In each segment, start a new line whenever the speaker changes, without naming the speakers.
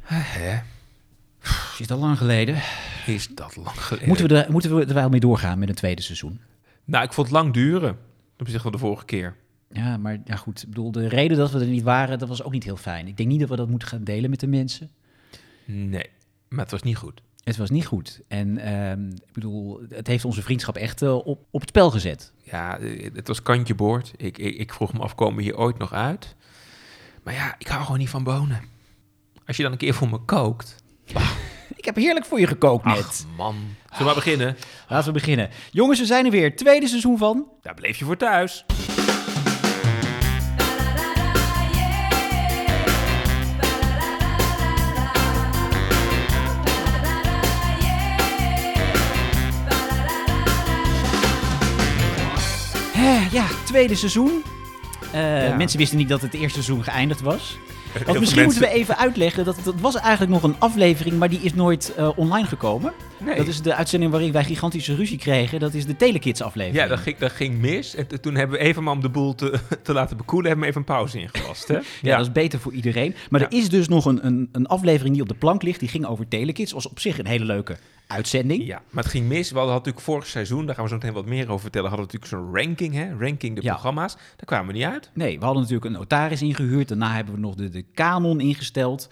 Hè?
Is het al lang geleden?
Is dat lang geleden?
Eh, Moeten we, er, moeten we er wel mee doorgaan met een tweede seizoen?
Nou, ik vond het lang duren. Op zich van de vorige keer.
Ja, maar ja, goed. Ik bedoel, de reden dat we er niet waren, dat was ook niet heel fijn. Ik denk niet dat we dat moeten gaan delen met de mensen.
Nee, maar het was niet goed.
Het was niet goed. En ehm, ik bedoel, het heeft onze vriendschap echt eh, op, op het spel gezet.
Ja, eh, het was kantje boord. Ik, ik, ik vroeg me af, komen we hier ooit nog uit? Maar ja, ik hou gewoon niet van bonen. Als je dan een keer voor me kookt.
Ik heb heerlijk voor je gekookt net.
Ach, man. Zullen we maar beginnen?
Laten we beginnen. Jongens, we zijn er weer. Tweede seizoen van...
Daar bleef je voor thuis.
Hè, ja, tweede seizoen. Eh,
Ja.
Mensen wisten niet dat het eerste seizoen geëindigd was.
Heel
Want
veel
misschien moeten
mensen-
we even uitleggen dat dat was eigenlijk nog een aflevering, maar die is nooit eh, online gekomen.
Nee.
Dat is de uitzending waarin wij gigantische ruzie kregen. Dat is de Telekids aflevering.
Ja, dat ging, dat ging mis. En t- toen hebben we even maar om de boel te, te laten bekoelen, hebben we even een pauze ingelast. Hè?
Ja, dat is beter voor iedereen. Maar er is dus nog een, een, een aflevering die op de plank ligt. Die ging over Telekids. Was op zich een hele leuke uitzending.
Ja, maar het ging mis. We hadden natuurlijk vorig seizoen, daar gaan we zo meteen wat meer over vertellen, hadden we natuurlijk zo'n ranking, hè? ranking de
Ja.
programma's. Daar kwamen we niet uit.
Nee, we hadden natuurlijk een notaris ingehuurd. Daarna hebben we nog de, de kanon ingesteld.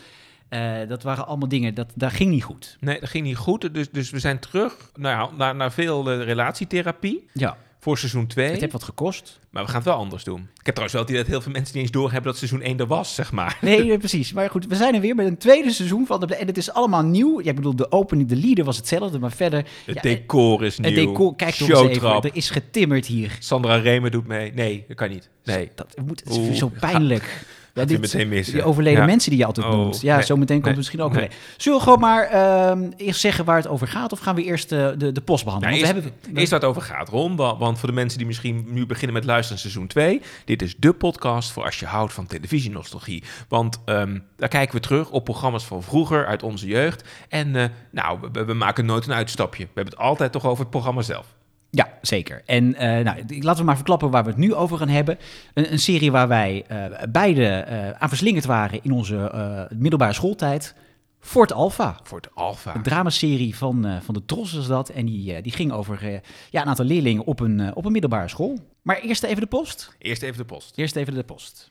Eh, dat waren allemaal dingen, dat, dat ging niet goed.
Nee, dat ging niet goed. Dus, dus we zijn terug nou ja, naar, naar veel eh, relatietherapie
Ja,
voor seizoen 2.
het heeft wat gekost.
Maar we gaan het wel anders doen. Ik heb trouwens wel het idee dat heel veel mensen niet eens doorhebben dat seizoen 1 er was, zeg maar.
Nee, eh, precies. Maar goed, we zijn er weer met een tweede seizoen van. de- En het is allemaal nieuw. Ja, ik bedoel, de opening, de leader was hetzelfde, maar verder...
Het
ja, eh,
decor is nieuw.
het decor, kijk nog eens even.
Showtrap.
Er is getimmerd hier.
Sandra Remer doet mee. Nee, dat kan niet. Nee.
Dus Dat moet, het is
Oeh,
zo
gaat-
pijnlijk. ja,
weer meteen missen.
Die overleden
Ja.
mensen die je altijd
Oh,
noemt. Ja,
nee,
zo meteen komt
nee,
het misschien ook
nee.
weer. Zullen we gewoon maar ehm, eerst zeggen waar het over gaat? Of gaan we eerst eh, de, de post behandelen?
Nou,
Want
eerst,
we hebben,
eerst waar het over gaat, Ron. wa- Want voor de mensen die misschien nu beginnen met luisteren naar seizoen 2. Dit is de podcast voor als je houdt van televisienostalgie. Want ehm, daar kijken we terug op programma's van vroeger, uit onze jeugd. En eh, nou, we- we, we maken nooit een uitstapje. We hebben het altijd toch over het programma zelf.
Ja, zeker. En eh, nou, d- laten we maar verklappen waar we het nu over gaan hebben. Een, een serie waar wij eh beide eh, aan verslingerd waren in onze eh, middelbare schooltijd. Fort Alpha.
Voor het Alfa.
Een dramaserie van, eh, van de Tros was dat. En die, eh, die ging over eh, ja, een aantal leerlingen op een, eh, op een middelbare school. Maar eerst even de post.
Eerst even de post.
Eerst even de post.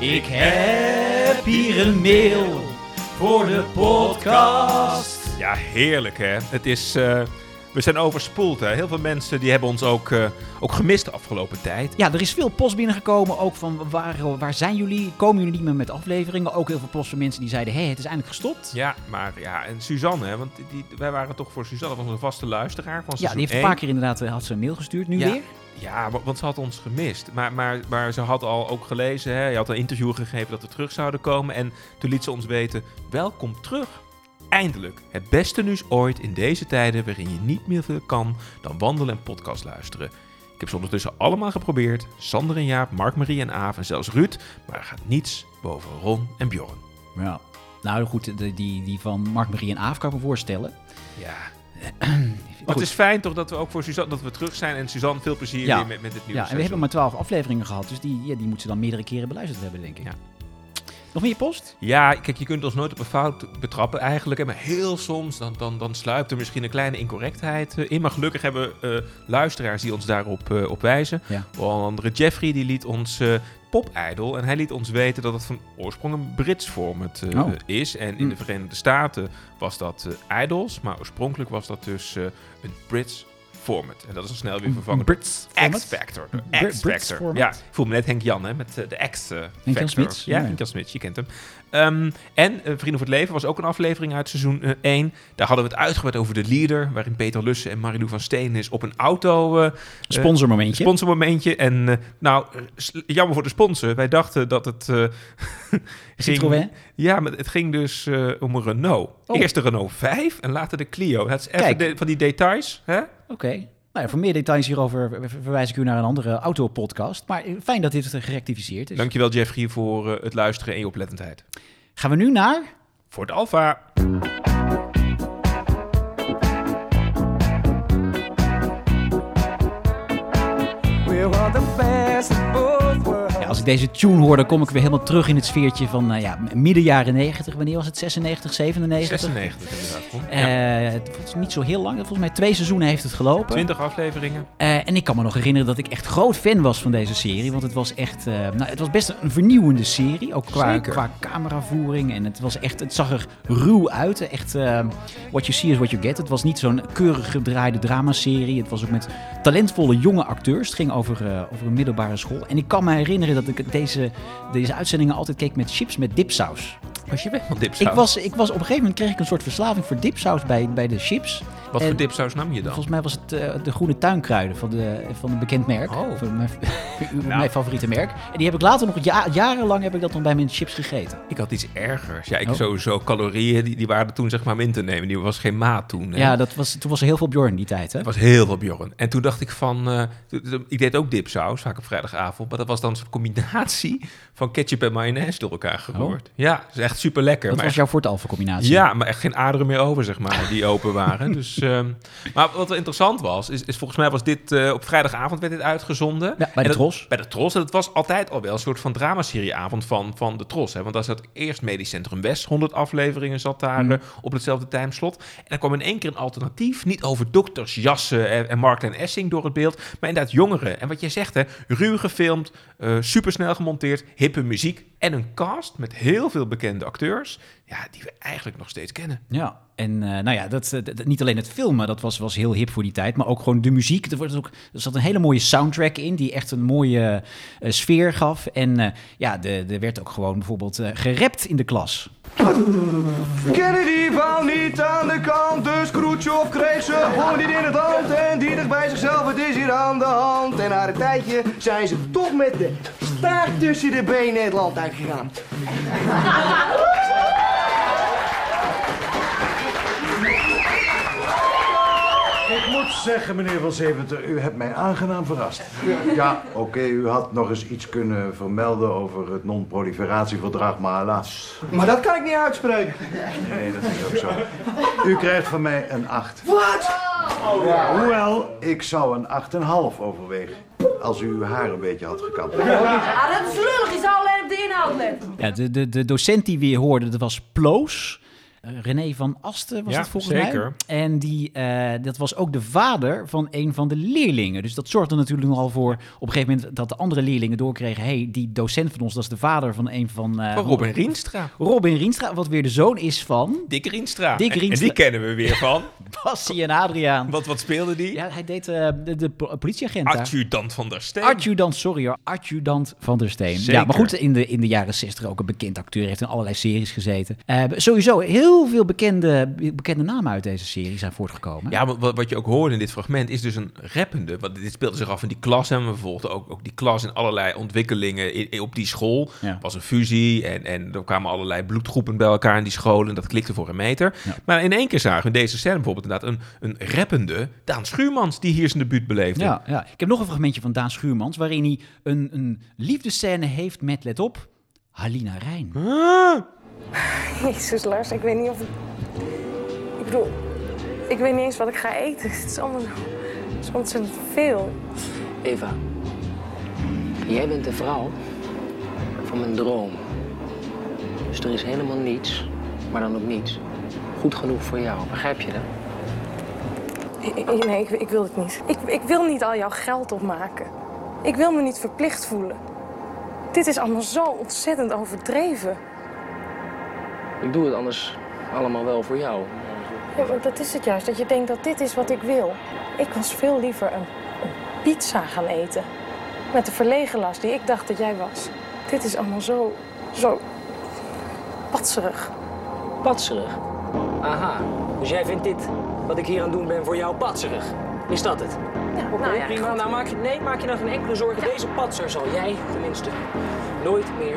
Ik heb hier een mail voor de podcast.
Ja, heerlijk hè. Het is, eh, we zijn overspoeld hè. Heel veel mensen die hebben ons ook, eh, ook gemist de afgelopen tijd.
Ja, er is veel post binnengekomen, ook van waar, waar zijn jullie? Komen jullie niet meer met afleveringen? Ook heel veel post van mensen die zeiden, hé, het is eindelijk gestopt.
Ja, maar ja, en Suzanne, hè, want die, wij waren toch voor Suzanne, dat was onze vaste luisteraar van
Ja, die
seizoen
heeft een
één.
paar keer inderdaad eh, had ze een mail gestuurd, nu
Ja.
weer.
Ja, wa- want ze had ons gemist. Maar, maar, maar ze had al ook gelezen, hè, je had een interview gegeven dat we terug zouden komen. En toen liet ze ons weten, welkom terug. Eindelijk, het beste nieuws ooit in deze tijden waarin je niet meer veel kan dan wandelen en podcast luisteren. Ik heb ze ondertussen allemaal geprobeerd. Sander en Jaap, Mark, Marie en Aaf en zelfs Ruud. Maar er gaat niets boven Ron en Bjorn.
Ja. Nou goed, de, die, die van Mark, Marie en Aaf kan ik me voorstellen.
Ja. Maar
Goed.
het is fijn toch dat we ook voor Suzanne, dat we terug zijn. En Suzanne, veel plezier
Ja.
weer met, met het nieuwe
Ja, en we hebben
seizoen.
maar twaalf afleveringen gehad, dus die, ja, die moeten ze dan meerdere keren beluisterd hebben, denk ik.
Ja.
Nog meer post?
Ja, kijk, je kunt ons nooit op een fout betrappen eigenlijk. hè, Maar heel soms, dan, dan, dan sluipt er misschien een kleine incorrectheid eh, in. Maar gelukkig hebben we eh, luisteraars die ons daarop eh, op wijzen.
Ja.
Onder andere Jeffrey, die liet ons eh pop-idol. En hij liet ons weten dat het van oorsprong een Brits format eh,
Oh.
is. En in
Hm.
de Verenigde Staten was dat eh, idols. Maar oorspronkelijk was dat dus eh, een Brits format. En dat is al snel weer vervangen door
Brits format?
X-Factor.
Br- Brits
X-Factor.
format?
Ja, ik voel me net Henk Jan, hè, met eh, de X-Factor.
Henk Jan Smits?
Ja,
Ja.
Henk Jan Smits, je kent hem. Ehm, en eh, Vrienden voor het Leven was ook een aflevering uit seizoen 1. Daar hadden we het uitgebreid over de leader, waarin Peter Lussen en Marilou van Steen is op een auto eh,
Sponsormomentje.
sponsormomentje. En eh, nou, eh, s- jammer voor de sponsor. Wij dachten dat het eh, ging...
Citroën.
Ja, maar het ging dus eh, om een Renault.
Oh.
Eerst de Renault 5 en later de Clio. Dat is even
Kijk.
de- van die details, hè?
Oké. Nou ja, voor meer details hierover ver- ver- verwijs ik u naar een andere autopodcast. Maar eh, fijn dat dit eh, gerectificeerd is.
Dankjewel Jeffrey voor eh, het luisteren en je oplettendheid.
Gaan we nu naar...
Voor het Alfa.
We were the best of both worlds.
Ja, als ik deze tune hoor, dan kom ik weer helemaal terug in het sfeertje van nou ja, midden jaren 90. Wanneer was het? 96, 97?
96 inderdaad. Kom.
Eh,
Ja.
het was niet zo heel lang. Volgens mij twee seizoenen heeft het gelopen.
20 afleveringen.
Eh, en ik kan me nog herinneren dat ik echt groot fan was van deze serie. Want het was echt. eh, nou, het was best een vernieuwende serie. Ook qua,
Zeker.
qua cameravoering. En het, was echt, het zag er ruw uit. Echt. eh, what you see is what you get. Het was niet zo'n keurig gedraaide dramaserie. Het was ook met talentvolle jonge acteurs. Het ging over, eh, over een middelbare school. En ik kan me herinneren dat ik deze, deze uitzendingen altijd keek met chips met dipsaus.
Was je weg van dipsaus?
Ik was, ik was op een gegeven moment kreeg ik een soort verslaving voor dipsaus bij, bij de chips.
Wat
en-
voor dipsaus nam je dan?
Volgens mij was het eh, de groene tuinkruiden van, de, van een bekend merk.
Oh. Nou.
Van mijn, mijn favoriete merk. En die heb ik later nog, ja, jarenlang heb ik dat nog bij mijn chips gegeten.
Ik had iets ergers. Ja, ik
Oh.
sowieso calorieën, die, die waren toen zeg maar om in te nemen. Die was geen maat toen. hè.
Ja, dat was, toen was er heel veel Bjorn die tijd, hè?
Het was heel veel Bjorn. En toen dacht ik van... eh, toen- toen- ik deed ook dipsaus, vaak op vrijdagavond. Maar dat was dan een soort combinatie van ketchup en mayonaise door elkaar geroerd. Ja, dat is echt super lekker.
Oh. Dat was jouw voortalve combinatie.
Ja, maar echt geen aderen meer over, zeg maar, die open waren. Dus, ehm, maar wat wel interessant was, is, is volgens mij was dit... eh, op vrijdagavond werd dit uitgezonden.
bij
En
de
dat-
Tros.
Bij de Tros. En dat was altijd al wel een soort van dramaserieavond van, van de Tros. Hè? Want daar zat eerst Medisch Centrum West. 100 afleveringen zat daar
Mhm.
eh, op hetzelfde timeslot. En dan kwam in één keer een alternatief. Niet over dokters, jassen eh, en, en Mark en Essing door het beeld. Maar inderdaad jongeren. En wat jij zegt, hè, ruw gefilmd, eh supersnel gemonteerd, hippe muziek. En een cast met heel veel bekende acteurs. Ja, die we eigenlijk nog steeds kennen.
Ja, en eh, nou ja, dat, eh, dat- niet alleen het filmen, dat was, was heel hip voor die tijd, maar ook gewoon de muziek. Er, wordt ook, er zat een hele mooie soundtrack in, die echt een mooie eh, sfeer gaf. En eh, ja, de- er werd ook gewoon bijvoorbeeld eh gerapt in de klas.
Kennedy wou niet aan de kant, dus Khrushchev kreeg ze gewoon niet in het hand. En die dacht bij zichzelf, het is hier aan de hand. En na een tijdje zijn ze toch met de staart tussen de benen het land uitgegaan.
Ik moet zeggen, meneer Van Zeventer, u hebt mij aangenaam verrast.
Ja, oké, u had nog eens iets kunnen vermelden over het non-proliferatieverdrag, maar helaas.
Maar dat kan ik niet uitspreken.
Nee, dat is ook zo. U krijgt van mij een 8.
Wat?
Hoewel, ik zou een 8,5 overwegen. Als u uw haar een beetje had gekapt.
Ah, dat is lullig. Je zou alleen op de inhoud letten.
Ja, de, de, de docent die we hier hoorden, dat was Ploos. Eh, René van Asten was
Ja,
dat volgens
zeker.
mij. En die, eh, dat was ook de vader van een van de leerlingen. Dus dat zorgde natuurlijk nogal voor op een gegeven moment dat de andere leerlingen doorkregen... hé, hey, die docent van ons, dat is de vader van een van... eh,
Van Robin Rienstra.
Robin Rienstra, wat weer de zoon is van
Dick Rienstra.
Dick
En- En,
Rienstra.
die kennen we weer van.
Bassie en Adriaan.
Wat, wat speelde die?
Ja, hij deed eh, de, de po- politieagent
Ah,
daar.
Adjudant van der Steen.
Adjudant, sorry hoor, adjudant van der Steen.
Zeker.
Ja, maar goed, in de, in de jaren 60 ook een bekend acteur. Heeft in allerlei series gezeten. Eh, sowieso heel veel bekende, bekende namen uit deze serie zijn voortgekomen.
Ja, want wat, wat je ook hoorde in dit fragment is dus een rappende. Want dit speelde zich af in die klas. En we volgden ook, ook die klas en allerlei ontwikkelingen in, in- op die school.
Ja.
Er was een fusie en, en er kwamen allerlei bloedgroepen bij elkaar in die scholen. Dat klikte voor een meter.
Ja.
Maar in één keer zagen we in deze scène bijvoorbeeld inderdaad een, een rappende Daan Schuurmans die hier zijn debuut beleefde.
Ja, ja. Ik heb nog een fragmentje van Daan Schuurmans... waarin hij een, een liefdescène heeft met, let op, Halina Rijn.
Jezus, Lars, ik weet niet of ik... Ik bedoel, ik weet niet eens wat ik ga eten. Het is allemaal zo, zo ontzettend veel.
Eva, jij bent de vrouw van mijn droom. Dus er is helemaal niets, maar dan ook niets, goed genoeg voor jou. Begrijp je dat?
Ik- ik- Nee, ik, ik wil het niet. Ik, ik wil niet al jouw geld opmaken. Ik wil me niet verplicht voelen. Dit is allemaal zo ontzettend overdreven.
Ik doe het anders allemaal wel voor jou.
Ja, maar dat is het juist, dat je denkt dat dit is wat ik wil. Ik was veel liever een, een pizza gaan eten. Met de verlegen last die ik dacht dat jij was. Dit is allemaal zo, zo patserig.
Patserig. Aha, dus jij vindt dit, wat ik hier aan het doen ben, voor jou patserig? Is dat het? Oké,
nou ja,
prima. Nou, maak je, nee, maak je nou geen enkele zorgen. Deze patser zal jij tenminste nooit meer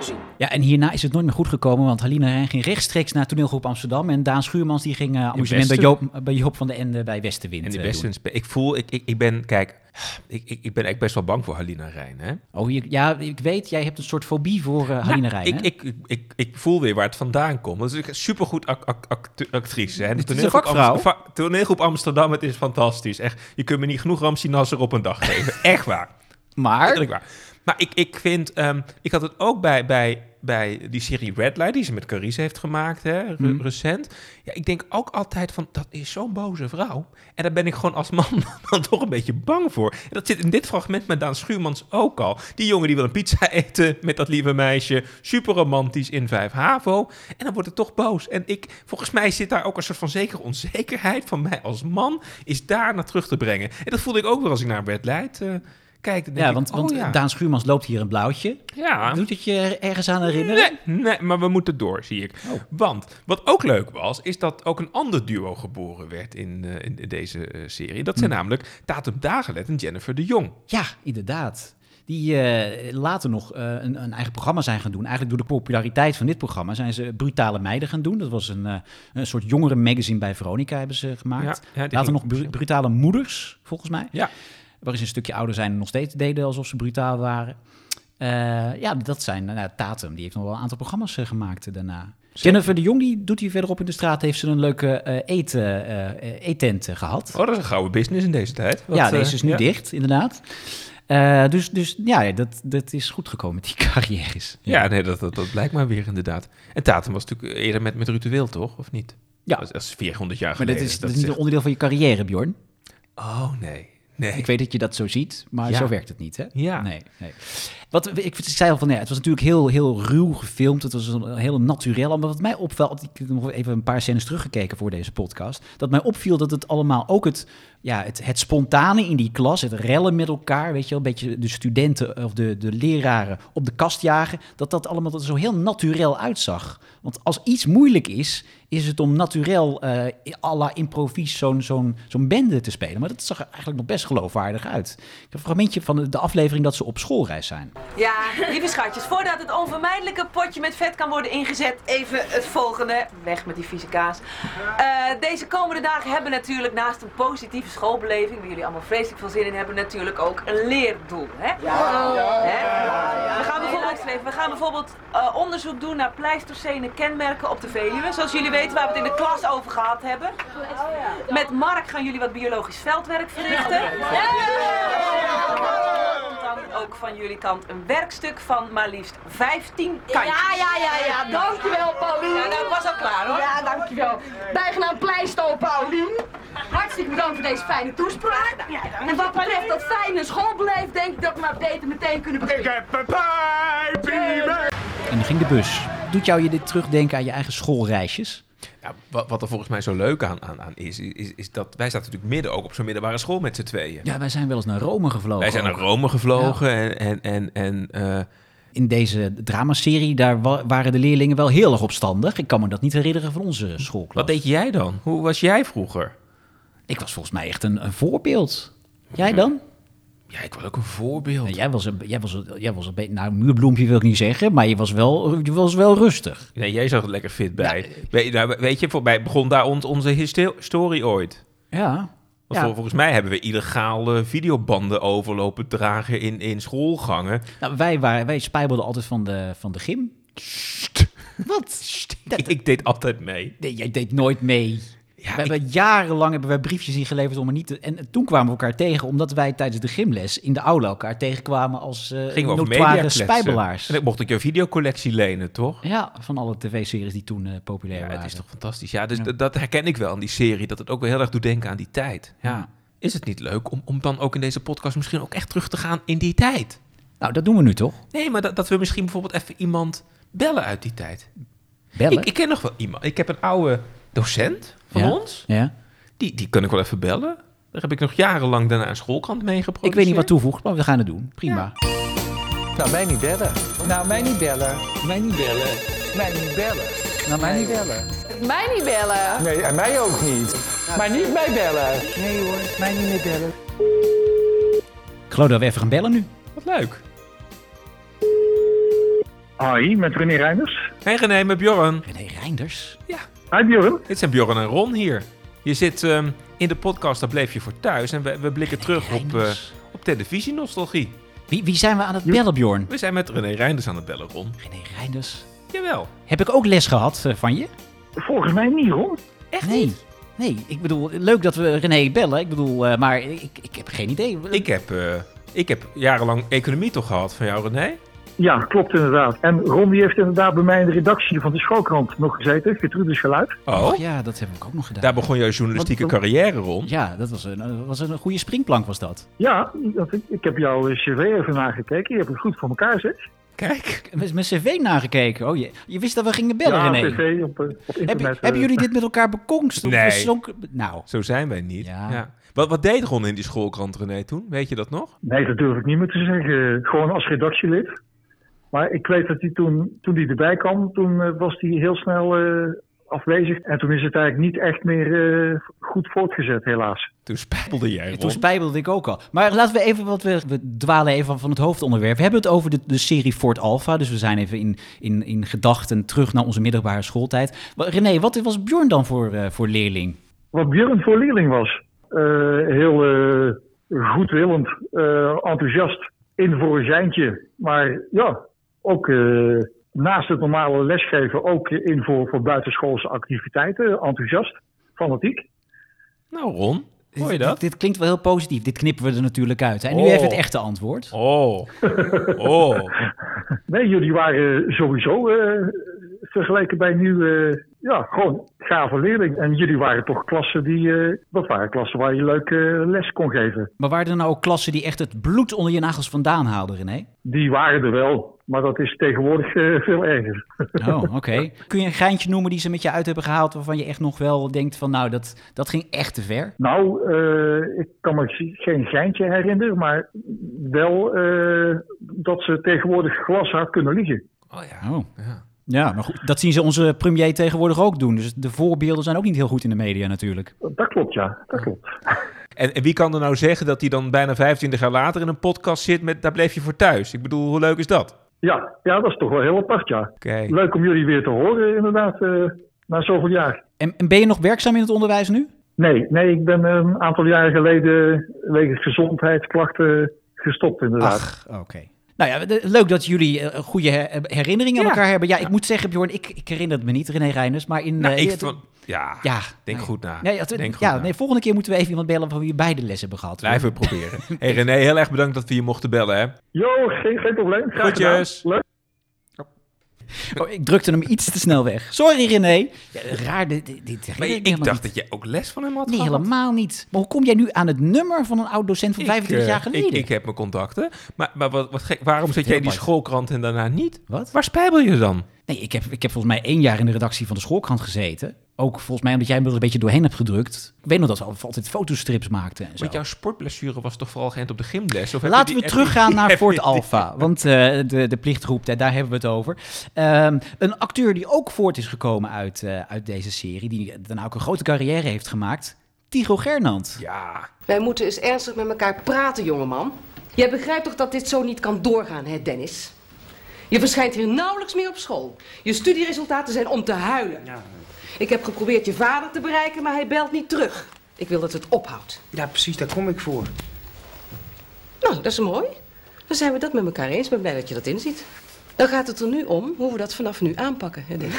zien.
Ja, en hierna is het nooit meer goed gekomen, want Halina Rijn ging rechtstreeks naar toneelgroep Amsterdam. En Daan Schuurmans die ging eh, amusement bij Joop,
Westen.
bij Joop van de Ende bij Westenwind.
En die
eh,
beste,
doen.
ik voel, ik, ik, ik ben, kijk, ik, ik, ik ben echt best wel bang voor Halina Rijn. Hè?
Oh, hier- ja, ik weet, jij hebt een soort fobie voor eh, Halina Rijn.
ik,
hè?
ik, ik, ik, ik voel weer waar het vandaan komt. Dat is een supergoed ac- ac- act- actrice. Hè? De
Het is een
toneelgroep
vakvrouw.
Amst- va- toneelgroep Amsterdam, het is fantastisch. Echt, je kunt me niet genoeg Ramsey Nasser op een dag geven. Echt waar.
maar
Eerlijk waar. Maar ik, ik vind, ehm, ik had het ook bij, bij, bij die serie Red Light, die ze met Carice heeft gemaakt, hè, re-
Mhm.
recent. Ja, ik denk ook altijd van, dat is zo'n boze vrouw. En daar ben ik gewoon als man dan toch een beetje bang voor. En dat zit in dit fragment met Daan Schuurmans ook al. Die jongen die wil een pizza eten met dat lieve meisje. Super romantisch in 5 HAVO. En dan wordt het toch boos. En ik, volgens mij zit daar ook een soort van zekere onzekerheid van mij als man, is daar naar terug te brengen. En dat voelde ik ook weer als ik naar Red Light eh, kijk. Dan denk
Ja,
ik,
want,
oh
want
ja.
Daan Schuurmans loopt hier een blauwtje.
Ja.
Doet het je ergens aan herinneren?
Nee, nee, maar we moeten door, zie ik.
Oh.
Want wat ook leuk was, is dat ook een ander duo geboren werd in, eh, in, in deze eh, serie. Dat
Hm.
zijn namelijk Tatum Dagelet en Jennifer de Jong. Oh,
Ja, inderdaad. Die eh, later nog eh, een, een eigen programma zijn gaan doen. Eigenlijk door de populariteit van dit programma zijn ze Brutale Meiden gaan doen. Dat was een, eh, een soort jongere magazine bij Veronica hebben ze gemaakt.
Ja, ja, die
later
ging-
nog Bru- Brutale Moeders, volgens mij.
Ja.
Waarin ze een stukje ouder zijn en nog steeds deden alsof ze brutaal waren. Eh, ja, dat zijn nou, ja, Tatum. Die heeft nog wel een aantal programma's eh, gemaakt eh, daarna. Jennifer de Jong, die doet hier verderop in de straat, heeft ze een leuke eh eten, eh, eh, eettent eh, gehad.
Oh, dat is een gouden business in deze tijd. Wat,
ja,
eh,
deze is nu
ja.
dicht, inderdaad. Eh, dus dus ja, dat, dat is goed gekomen met die carrières.
Ja, nee, dat, dat, dat blijkt maar weer inderdaad. En Tatum was natuurlijk eerder met, met Ruud de Wild, toch? Of niet?
Ja.
Dat is, dat is 400 jaar
maar dat
geleden.
is, dat is
is
niet een onderdeel van je carrière, Bjorn.
Oh, nee. Nee.
Ik weet dat je dat zo ziet, maar
Ja.
zo werkt het niet, hè?
Ja.
Nee, nee. Wat, ik, ik zei al van, nee, het was natuurlijk heel, heel ruw gefilmd. Het was een heel naturel. Maar wat mij opvalt, ik heb nog even een paar scènes teruggekeken voor deze podcast. Dat mij opviel dat het allemaal, ook het, ja, het, het spontane in die klas, het rellen met elkaar, weet je wel, een beetje de studenten of de, de leraren op de kast jagen, dat dat allemaal er zo heel naturel uitzag. Want als iets moeilijk is, is het om naturel eh à la improvies zo'n zo'n zo'n bende te spelen. Maar dat zag er eigenlijk nog best geloofwaardig uit. Ik heb een fragmentje van de- de aflevering dat ze op schoolreis zijn.
Ja, lieve schatjes, voordat het onvermijdelijke potje met vet kan worden ingezet, even het volgende. Weg met die vieze kaas. Eh, deze komende dagen hebben natuurlijk naast een positieve schoolbeleving, waar jullie allemaal vreselijk veel zin in hebben, natuurlijk ook een leerdoel. Hè? Hè? We gaan bijvoorbeeld, even, we gaan bijvoorbeeld eh, onderzoek doen naar pleistocene kenmerken op de Veluwe. Zoals jullie weten, waar we het in de klas over gehad hebben. Met Mark gaan jullie wat biologisch veldwerk verrichten. Dan ook van jullie kant een werkstuk van maar liefst 15 kantjes.
Ja, ja, ja, ja. Dankjewel,
Nou, nou, ik
Paulien.
was al klaar hoor.
Ja, dankjewel. Bijgenaam Pleisto, Paulien. Hartstikke bedankt voor deze fijne toespraak. En wat betreft dat fijne schoolbeleid, denk ik dat we maar beter meteen kunnen beginnen.
En dan ging de bus. Doet jou je dit terugdenken aan je eigen schoolreisjes?
Ja, wat, wat er volgens mij zo leuk aan, aan, aan is, is, is dat wij zaten natuurlijk midden ook op zo'n middelbare school met z'n tweeën.
Ja, wij zijn wel eens naar Rome gevlogen.
Wij zijn naar
ook.
Rome gevlogen en, en, en, en eh,
In deze dramaserie, daar wa- waren de leerlingen wel heel erg opstandig. Ik kan me dat niet herinneren van onze schoolklas.
wat deed jij dan? Hoe was jij vroeger?
Ik was volgens mij echt een, een voorbeeld. Jij dan?
Ja, ik was ook een voorbeeld.
Nou, jij was een, jij was een, jij was een beetje, nou, muurbloempje wil ik niet zeggen, maar je was wel, je was wel rustig.
Nee, jij zag er lekker fit bij. weet, nou, weet je, voor mij begon daar ons, onze histo- historie ooit.
Ja.
Want vol- volgens mij hebben we illegale videobanden overlopen dragen in, in schoolgangen.
Nou, wij, waren, wij spijbelden altijd van de, van de gym. Wat? Dat-
Ik, ik deed altijd mee.
Nee, jij deed nooit mee. we hebben jarenlang hebben wij briefjes ingeleverd om er niet te... En toen kwamen we elkaar tegen, omdat wij tijdens de gymles in de aula elkaar tegenkwamen als eh
Gingen we over media
notoire
kletsen.
spijbelaars.
En dan mocht ik jouw videocollectie lenen, toch?
Ja, van alle tv-series die toen eh, populair
Ja,
waren.
het is toch fantastisch. Ja, dus dat- dat herken ik wel aan die serie. Dat het ook wel heel erg doet denken aan die tijd.
Ja.
Is het niet leuk om, om dan ook in deze podcast misschien ook echt terug te gaan in die tijd?
Nou, dat doen we nu toch?
Nee, maar dat, dat we misschien bijvoorbeeld even iemand bellen uit die tijd.
Bellen?
Ik, ik ken nog wel iemand. Ik heb een oude docent van
Ja.
ons.
Ja.
Die, die kan ik wel even bellen. Daar heb ik nog jarenlang daarna een schoolkrant mee geproduceerd.
Ik weet niet wat toevoegt, maar we gaan het doen. Prima.
Nou, mij niet bellen. Nou, mij niet bellen. Mij niet bellen. Mij niet bellen. Nou, mij niet bellen.
Mij niet bellen.
Nee, en mij ook niet. Maar niet mij bellen. Nee hoor, mij niet meer bellen.
Ik geloof dat we even gaan bellen nu.
Wat leuk.
Hoi, met René Reinders.
Hey René, met Bjorn.
René Reinders.
Hi Bjorn.
Dit zijn Bjorn en Ron hier. Je zit ehm, in de podcast, daar bleef je voor thuis. En we, we blikken terug op, eh
Reinders.
op televisienostalgie.
Wie, wie zijn we aan het bellen, Bjorn?
We zijn met René Reinders aan het bellen, Ron.
René Reinders.
Jawel.
Heb ik ook les gehad eh, van je?
Volgens mij niet hoor.
Echt nee. Nee, ik bedoel, leuk dat we René bellen. Ik bedoel, eh, maar ik, ik heb geen idee.
Ik heb, eh, Ik heb jarenlang economie toch gehad van jou, René?
Ja, klopt inderdaad. En Ron die heeft inderdaad bij mij in de redactie van de schoolkrant nog gezeten. Gertrudes Geluid.
Oh,
ja, dat heb ik ook nog gedaan.
daar begon jouw journalistieke
Wat-
carrière rond.
Ja, dat was een, eh, was een goede springplank was dat.
Ja, dat, ik, ik heb jouw cv even nagekeken. Je hebt het goed voor elkaar, zeg.
Kijk.
Met mijn cv nagekeken. Oh, je, je wist dat we gingen bellen,
ja,
René.
cv op, eh, op internet.
Heb-
eh,
hebben jullie dit met elkaar bekongst? Of
Nee.
verzonken? Nou,
Zo zijn wij niet. Ja.
Ja.
Wat, wat deed Ron in die schoolkrant, René, toen? Weet je dat nog?
Nee, dat durf ik niet meer te zeggen. Gewoon als redactielid. Maar ik weet dat hij toen, toen hij erbij kwam, toen eh, was hij heel snel eh, afwezig. En toen is het eigenlijk niet echt meer eh, goed voortgezet, helaas.
Toen spijbelde jij, Ron.
toen spijbelde ik ook al. Maar laten we even, wat we, we dwalen even van het hoofdonderwerp. We hebben het over de, de serie Fort Alpha. Dus we zijn even in, in, in gedachten terug naar onze middelbare schooltijd. Maar René, wat was Bjorn dan voor, eh, voor leerling?
Wat Björn voor leerling was. Eh, heel eh, goedwillend, eh, enthousiast, in voor een geintje. Maar ja, ook eh, naast het normale lesgeven ook in voor, voor buitenschoolse activiteiten. Enthousiast, fanatiek.
Nou, Ron, hoor je
Dit-
dat?
Dit, dit klinkt wel heel positief. Dit knippen we er natuurlijk uit. hè. En nu
Oh.
even het echte antwoord.
Oh, oh.
Nee, jullie waren sowieso eh, vergeleken bij nu eh, ja, gewoon gave leerling. En jullie waren toch klassen die, eh, dat waren klassen waar je leuk eh, les kon geven.
Maar waren er nou ook klassen die echt het bloed onder je nagels vandaan haalden, René?
Die waren er wel, maar dat is tegenwoordig eh, veel erger.
Oh, oké. Kun je een geintje noemen die ze met je uit hebben gehaald... waarvan je echt nog wel denkt van, nou, dat, dat ging echt te ver?
Nou, eh, ik kan me geen geintje herinneren, maar wel eh, dat ze tegenwoordig glashard kunnen liegen.
Oh ja.
Oh.
ja.
Ja, maar goed, dat zien ze onze premier tegenwoordig ook doen. Dus de voorbeelden zijn ook niet heel goed in de media natuurlijk.
Dat klopt, ja. Dat klopt.
En, en wie kan er nou zeggen dat hij dan bijna 25 jaar later in een podcast zit met... Daar bleef je voor thuis. Ik bedoel, hoe leuk is dat? Nou,
Ja, ja dat is toch wel heel apart, ja.
Kijk.
Leuk om jullie weer te horen, inderdaad, eh, na zoveel jaar.
En, en ben je nog werkzaam in het onderwijs nu?
Nee, nee, ik ben eh, een aantal jaren geleden wegens gezondheidsklachten gestopt, inderdaad.
oké. Nou ja, de- leuk dat jullie eh, goede her- herinneringen aan
Ja.
elkaar hebben. Ja, ik moet zeggen, Bjorn, ik, ik herinner het me niet, René Reiners. Maar in...
Nou,
eh,
ik
het-
vond- ja,
ja,
denk
nou,
goed na.
Nee, het-
Denk goed
ja,
na.
nee, volgende keer moeten we even iemand bellen van wie beide les hebben gehad. hoor.
Blijven we proberen. hey, René, heel erg bedankt dat we je mochten bellen, hè?
Jo, geen, geen probleem. Graag gedaan.
Groetjes.
Leuk.
Oh, ik drukte hem iets te snel weg. Sorry, René. Ja, raar, dit, dit, dit
Maar
herinner ik
ik,
me helemaal
dacht
niet.
dat jij ook les van hem had
Nee,
gehad.
helemaal niet. Maar hoe kom jij nu aan het nummer van een oud-docent van
Ik,
25
eh,
jaar geleden?
Ik, ik heb mijn contacten. Maar, maar wat, wat gek, waarom zet jij in die
apart.
schoolkrant en daarna niet?
Wat?
Waar spijbel je dan?
Nee, ik heb, ik heb volgens mij één jaar in de redactie van de schoolkrant gezeten. Ook volgens mij omdat jij me er een beetje doorheen hebt gedrukt. Ik weet nog dat we altijd fotostrips maakten en zo.
Want jouw sportblessure was toch vooral geënt op de gymles? Of heb je
Laten
die
we
echt-
teruggaan naar
heb je
Fort
die-
Alpha, want eh, de, de plichtgroep, daar, daar hebben we het over. Ehm, een acteur die ook voort is gekomen uit, eh, uit deze serie, die daarna ook een grote carrière heeft gemaakt, Tigo Gernand.
Ja,
Wij moeten eens ernstig met elkaar praten, jongeman. Jij begrijpt toch dat dit zo niet kan doorgaan, hè, Dennis? Je verschijnt hier nauwelijks meer op school. Je studieresultaten zijn om te huilen. Ik heb geprobeerd je vader te bereiken, maar hij belt niet terug. Ik wil dat het ophoudt.
Ja, precies, daar kom ik voor.
Nou, dat is mooi. Dan zijn we dat met elkaar eens. Ik ben blij dat je dat inziet. Dan gaat het er nu om hoe we dat vanaf nu aanpakken, hè, Dennis?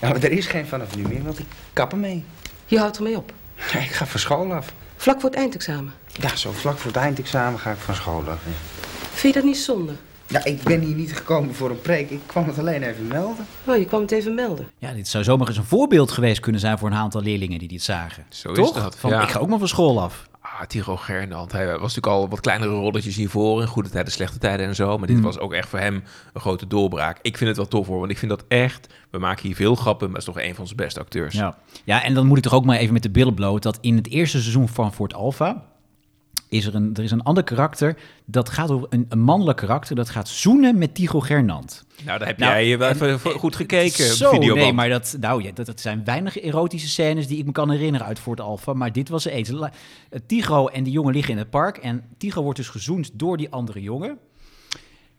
Ja, maar er is geen vanaf nu meer, want ik kap ermee.
Je houdt ermee op.
Ja, ik ga van school af.
Vlak voor het eindexamen.
Ja, zo vlak voor het eindexamen ga ik van school af. ja.
Vind je dat niet zonde?
Ja, ik ben hier niet gekomen voor een preek. Ik kwam het alleen even melden.
Oh, je kwam het even melden.
Ja, dit zou zomaar eens een voorbeeld geweest kunnen zijn voor een aantal leerlingen die dit zagen.
Zo is
Toch?
dat,
Van,
ja.
Ik ga ook maar van school af.
Ah, Tiro Gernand. Hij was natuurlijk al wat kleinere rolletjes hiervoor. In goede tijden, slechte tijden en zo. Maar dit
Mm.
was ook echt voor hem een grote doorbraak. Ik vind het wel tof hoor. Want ik vind dat echt. We maken hier veel grappen. Maar het is toch een van onze beste acteurs.
Ja. ja, en dan moet ik toch ook maar even met de billen bloot... dat in het eerste seizoen van Fort Alpha... Is er, een, er is een ander karakter, dat gaat over een, een mannelijk karakter... dat gaat zoenen met Tigo Gernand.
Nou, daar heb
Nou,
jij eh, wel
en-
even vo- goed gekeken.
Zo,
video
nee, maar dat, nou, ja, dat, dat zijn weinig erotische scènes... die ik me kan herinneren uit Fort Alpha, maar dit was er eens. La- eh, Tigo en die jongen liggen in het park... en Tigo wordt dus gezoend door die andere jongen...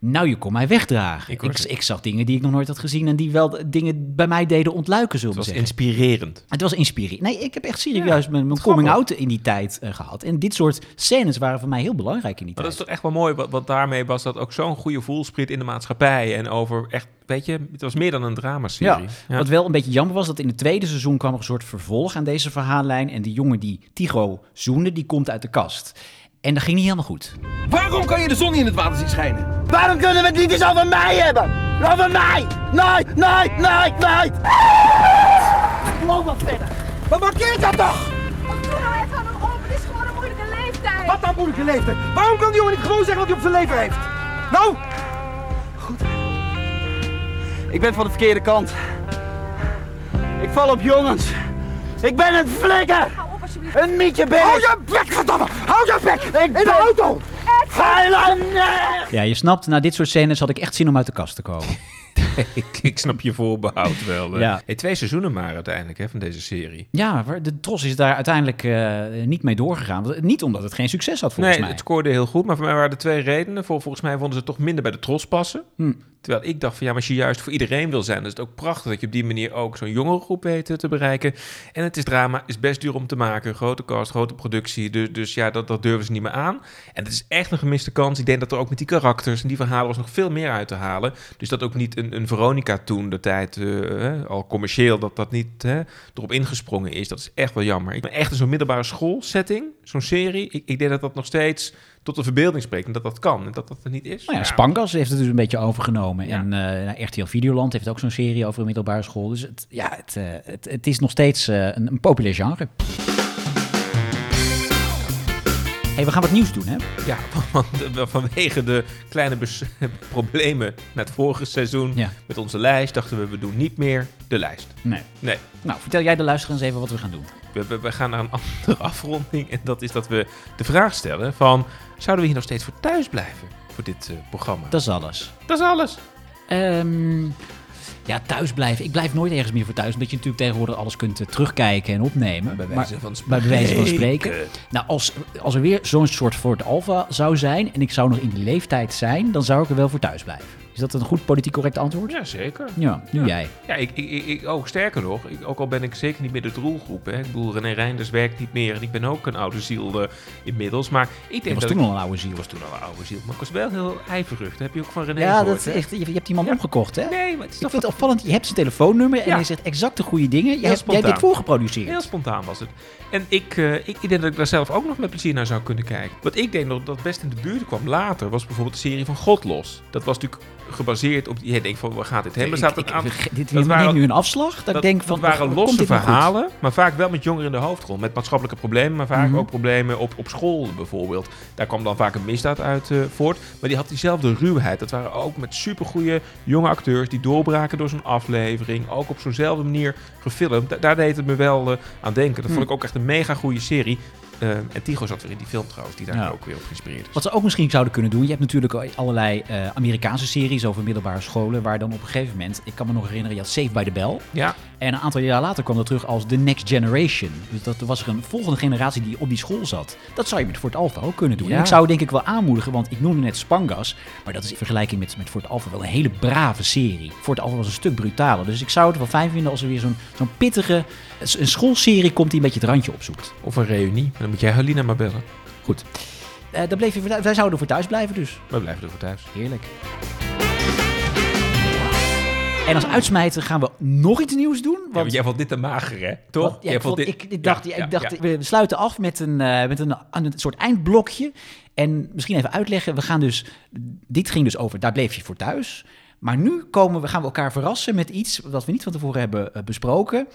Nou, je kon mij wegdragen.
Ik
Ik,
hoor
ik,
het.
zag dingen die ik nog nooit had gezien... en die wel d- dingen bij mij deden ontluiken, zullen
Het
we
was
zeggen.
inspirerend.
Het was inspirerend. Nee, ik heb echt serieus mijn, mijn coming-out in die tijd eh, gehad. En dit soort scènes waren voor mij heel belangrijk in die
Maar dat
tijd.
is toch echt wel mooi, wa- want daarmee was dat ook zo'n goede voelspriet in de maatschappij. En over echt, weet je, het was meer dan een dramaserie. Ja.
Wat wel een beetje jammer was, dat in het tweede seizoen kwam er een soort vervolg aan deze verhaallijn. En die jongen die Tigo zoende, die komt uit de kast. En dat ging niet helemaal goed.
Waarom kan je de zon niet in het water zien schijnen?
Waarom kunnen we het niet eens over mij hebben? Over mij! Nee, nee, nee, nee! Loop wat verder. Wat markeert dat toch?
Wat doe nou even aan hem op? Het is gewoon een moeilijke leeftijd.
Wat dan moeilijke leeftijd? Waarom kan die jongen niet gewoon zeggen wat hij op zijn leven heeft? Nou, goed.
Ik ben van de verkeerde kant. Ik val op jongens. Ik ben een flikker! Een mietje ben Hou je bek, verdomme! Hou je bek! in de auto! Ga je lang- nee!
Ja, je snapt, na dit soort scènes had ik echt zin om uit de kast te komen.
ik, ik snap je voorbehoud wel. hè.
Ja.
Hey, twee seizoenen maar uiteindelijk hè, van deze serie.
Ja, maar de Tros is daar uiteindelijk eh, niet mee doorgegaan. Want- Niet omdat het geen succes had, volgens
nee,
mij.
het scoorde heel goed, maar voor mij waren er twee redenen. Vol- volgens mij vonden ze het toch minder bij de tros passen.
Hm.
Terwijl ik dacht van ja, maar als je juist voor iedereen wil zijn, dan is het ook prachtig dat je op die manier ook zo'n jongere groep weet eh, te bereiken. En het is drama, is best duur om te maken. Grote cast, grote productie. Dus, dus ja, dat, dat durven ze niet meer aan. En het is echt een gemiste kans. Ik denk dat er ook met die karakters en die verhalen was nog veel meer uit te halen. Dus dat ook niet een, een Veronica toen de tijd, eh, hè, al commercieel, dat dat niet hè, erop ingesprongen is. Dat is echt wel jammer. Ik ben echt in zo'n middelbare schoolsetting, zo'n serie. Ik, ik denk dat dat nog steeds tot de verbeelding spreekt en dat dat kan en dat dat er niet is.
Nou ja, Spankas heeft het dus een beetje overgenomen. En eh, nou, RTL Videoland heeft ook zo'n serie over een middelbare school. Dus het, ja, het, eh, het, het is nog steeds eh, een, een populair genre. hey, we gaan wat nieuws doen, hè?
Ja, want eh, vanwege de kleine bes- problemen na het vorige seizoen
Ja.
met onze lijst, dachten we, we doen niet meer de lijst.
Nee.
Nee.
Nou, vertel jij de luisteraars even wat we gaan doen.
We, we, we gaan naar een andere afronding en dat is dat we de vraag stellen van, zouden we hier nog steeds voor thuis blijven voor dit eh, programma?
Dat is alles.
Dat is alles.
Ehm, ja, thuis blijven. Ik blijf nooit ergens meer voor thuis. Omdat je natuurlijk tegenwoordig alles kunt eh, terugkijken en opnemen.
Bij wijze van
bij wijze van
spreken.
spreken. Nou, als, als er weer zo'n soort Ford Alfa zou zijn. en ik zou nog in die leeftijd zijn. dan zou ik er wel voor thuis blijven. Is dat een goed politiek correct antwoord?
Ja, zeker.
Ja, nu jij.
Ja, ik, ik, ik, ik ook. Sterker nog, ik, ook al ben ik zeker niet meer de doelgroep. Hè. Ik bedoel, René Reinders werkt niet meer en ik ben ook een oude ziel eh, inmiddels. Maar ik denk
was
dat
toen
ik-
al een oude ziel.
Ik was toen al een oude ziel, maar ik was wel heel ijverig. Dat heb je ook van René
Ja,
gehoord,
dat is
hè?
echt, je, je hebt die man omgekocht, hè?
Nee, maar het is
ik vind het opvallend. Je hebt zijn telefoonnummer en
Ja.
hij zegt exact de goede dingen.
Heel
Jij, hebt- jij hebt dit
spontaan.
voorgeproduceerd.
Heel spontaan was het. En ik, eh, ik, ik denk dat ik daar zelf ook nog met plezier naar zou kunnen kijken. Wat ik denk nog dat best in de buurt kwam later, was bijvoorbeeld de serie van God los. Dat was natuurlijk gebaseerd op... Jij denkt van, waar gaat dit heen? Maar er zaten een aantal-
ik- dit
dat
neemt nu een afslag. Dat, ik denk van,
dat waren
komt
losse
dit nou goed?
verhalen, maar vaak wel met jongeren in de hoofdrol. Met maatschappelijke problemen, maar vaak
Mhm.
ook problemen op, op school bijvoorbeeld. Daar kwam dan vaak een misdaad uit eh, voort. Maar die had diezelfde ruwheid. Dat waren ook met supergoeie jonge acteurs die doorbraken door zo'n aflevering. Ook op zo'nzelfde manier gefilmd. Da- daar deed het me wel eh, aan denken. Dat
Hm.
vond ik ook echt een mega goede serie. Eh, en Tigo zat weer in die film trouwens, die daar
Ja.
ook weer op geïnspireerd is.
Wat ze ook misschien zouden kunnen doen. Je hebt natuurlijk allerlei eh, Amerikaanse series over middelbare scholen. Waar dan op een gegeven moment. Ik kan me nog herinneren, je had Safe by the Bell.
Ja.
En een aantal jaar later kwam dat terug als The Next Generation. Dus dat was er een volgende generatie die op die school zat. Dat zou je met Fort Alpha ook kunnen doen.
Ja.
En ik zou het denk ik wel aanmoedigen, want ik noemde net Spangas. Maar dat is in vergelijking met, met Fort Alpha wel een hele brave serie. Fort Alpha was een stuk brutaler. Dus ik zou het wel fijn vinden als er weer zo'n zo'n pittige. Een schoolserie komt die een beetje het randje opzoekt.
Of een reunie. Dan moet jij Helena maar bellen.
Goed. Eh dan bleef je, voor thu- wij zouden voor thuis blijven dus.
We blijven er voor thuis.
Heerlijk. En als uitsmijter gaan we nog iets nieuws doen. Want,
want jij vond dit te mager, hè? Toch?
Want, ja,
Jij
ik, vond,
vond
ik,
dit-
ik dacht,
Ja,
ja,
ja,
ik dacht
ja.
we sluiten af met een, eh, met een, aan een soort eindblokje. En misschien even uitleggen. We gaan dus, dit ging dus over, daar bleef je voor thuis. Maar nu komen we, gaan we elkaar verrassen met iets wat we niet van tevoren hebben eh, besproken.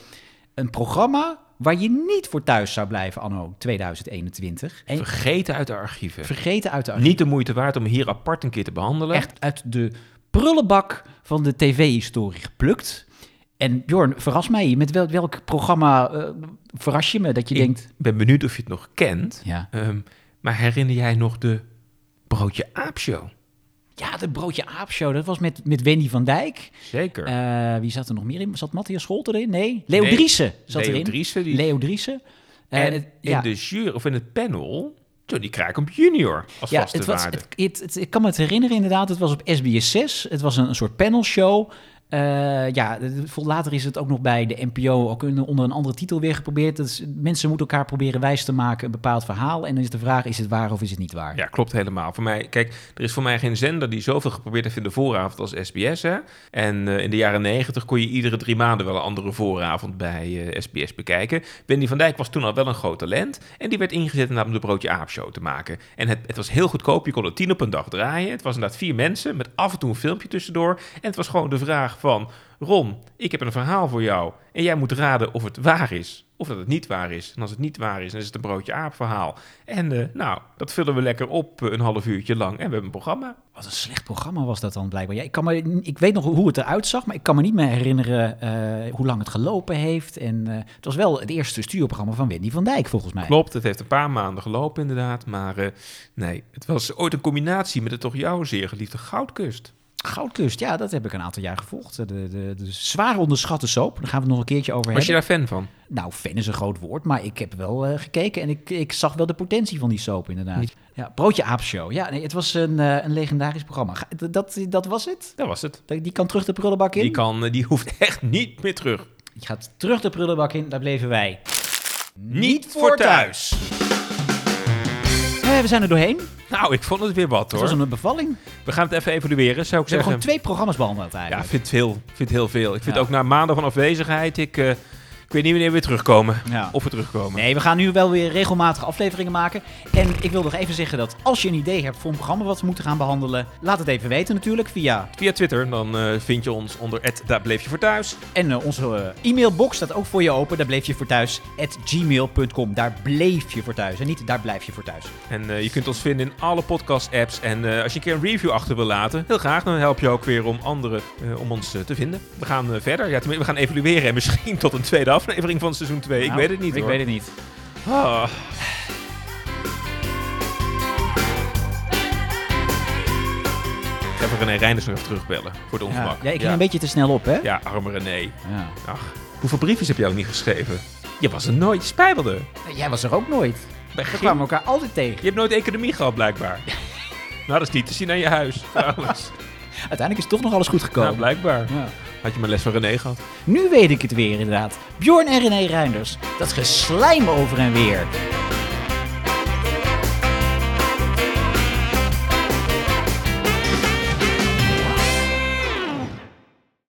Een programma waar je niet voor thuis zou blijven anno 2021. En
Vergeten uit de archieven.
Vergeten uit de archieven.
Niet de moeite waard om hier apart een keer te behandelen.
Echt uit de prullenbak van de tv-historie geplukt. En Bjorn, verras mij. Met wel- welk programma eh, verras je me dat je denkt...
Ik ben benieuwd of je het nog kent.
Ja.
Ehm, maar herinner jij nog de Broodje Aap Show?
Ja, de Broodje Aap Show. Dat was met, met Wendy van Dijk.
Zeker.
Eh, wie zat er nog meer in? Zat Matthias Scholte erin? Nee. Leo
Nee,
Driessen zat
Leo
erin.
Driessen, die-
Leo Driessen. Eh,
en
het-
in de jury, of in het panel, Johnny Kraaikamp junior als
ja,
vaste
het was,
waarde.
het- het- het- ik kan me het herinneren inderdaad. Het was op SBS 6. Het was een, een soort panelshow. Eh, Eh, ja, de- de- later is het ook nog bij de NPO ook een- onder een andere titel weer geprobeerd. Dat is, mensen moeten elkaar proberen wijs te maken een bepaald verhaal. En dan is de vraag, is het waar of is het niet waar?
Ja, klopt helemaal. Voor mij, kijk, er is voor mij geen zender die zoveel geprobeerd heeft in de vooravond als SBS. Hè? En eh, in de jaren negentig kon je iedere drie maanden wel een andere vooravond bij eh, SBS bekijken. Wendy van Dijk was toen al wel een groot talent. En die werd ingezet inderdaad om de Broodje Aap Show te maken. En het, het was heel goedkoop. Je kon er tien op een dag draaien. Het was inderdaad vier mensen met af en toe een filmpje tussendoor. En het was gewoon de vraag van... Ron, ik heb een verhaal voor jou. En jij moet raden of het waar is. Of dat het niet waar is. En als het niet waar is, dan is het een broodje aap verhaal. En eh, nou, dat vullen we lekker op eh, een half uurtje lang. En we hebben een programma.
Wat een slecht programma was dat dan blijkbaar. Ja, ik, kan me, ik weet nog hoe het eruit zag, maar ik kan me niet meer herinneren eh, hoe lang het gelopen heeft. En eh, het was wel het eerste stuurprogramma van Wendy van Dijk, volgens mij.
Klopt, het heeft een paar maanden gelopen inderdaad. Maar eh, nee, het was ooit een combinatie met de toch jou zeer geliefde Goudkust.
Goudkust, ja, dat heb ik een aantal jaar gevolgd. De, de, de zwaar onderschatte soap, daar gaan we het nog een keertje over
Was je
hebben.
daar fan van?
Nou, fan is een groot woord, maar ik heb wel eh, gekeken en ik, ik zag wel de potentie van die soap inderdaad. Ja, Broodje Aap Show. Ja, nee, het was een, eh, een legendarisch programma. Ga- d- Dat, dat was het?
Dat was het.
Die kan terug de prullenbak in?
Die, kan, eh, die hoeft echt niet meer terug.
Die gaat terug de prullenbak in, daar bleven wij.
Niet voor thuis.
Eh, we zijn er doorheen.
Nou, ik vond het weer wat hoor.
Het was een bevalling.
We gaan het even evalueren, zou ik
We hebben
zeggen.
gewoon twee programma's behandeld
Ja, ik
eigenlijk.
vind heel, vind heel veel. Ik vind
Ja.
ook na maanden van afwezigheid, ik, eh, ik weet niet wanneer we weer terugkomen.
Ja.
Of we terugkomen.
Nee, we gaan nu wel weer regelmatig afleveringen maken. En ik wil nog even zeggen dat als je een idee hebt voor een programma wat we moeten gaan behandelen, laat het even weten natuurlijk via
Via Twitter, dan eh, vind je ons onder het daar bleef je voor thuis.
En eh, onze eh, e-mailbox staat ook voor je open. Daar bleef je voor thuis. At gmail.com. Daar bleef je voor thuis. En niet daar blijf je voor thuis.
En eh, je kunt ons vinden in alle podcast-apps. En eh, als je een keer een review achter wil laten, heel graag. Dan help je ook weer om anderen eh, om ons eh, te vinden. We gaan eh, verder. Ja, tenminste, we gaan evalueren. En misschien tot een tweede aflevering van seizoen 2. ik
Nou,
weet het niet
Ik
hoor.
weet het niet.
Ah. Ik heb René Reinders nog even terugbellen voor de ongemak.
Ja, ja, ik ging een beetje te snel op, hè?
Ja, arme René.
Ja.
Ach, hoeveel briefjes heb jij ook niet geschreven? Je was er nooit, je spijbelde.
Jij was er ook nooit.
Bij
We kwamen elkaar altijd tegen.
Je hebt nooit economie gehad, blijkbaar. nou, dat is niet te zien aan je huis, trouwens.
Uiteindelijk is toch nog alles goed gekomen.
nou, blijkbaar. Had je mijn les van René gehad?
Nu weet ik het weer, inderdaad. Bjorn en René Reinders. Dat geslijm over en weer.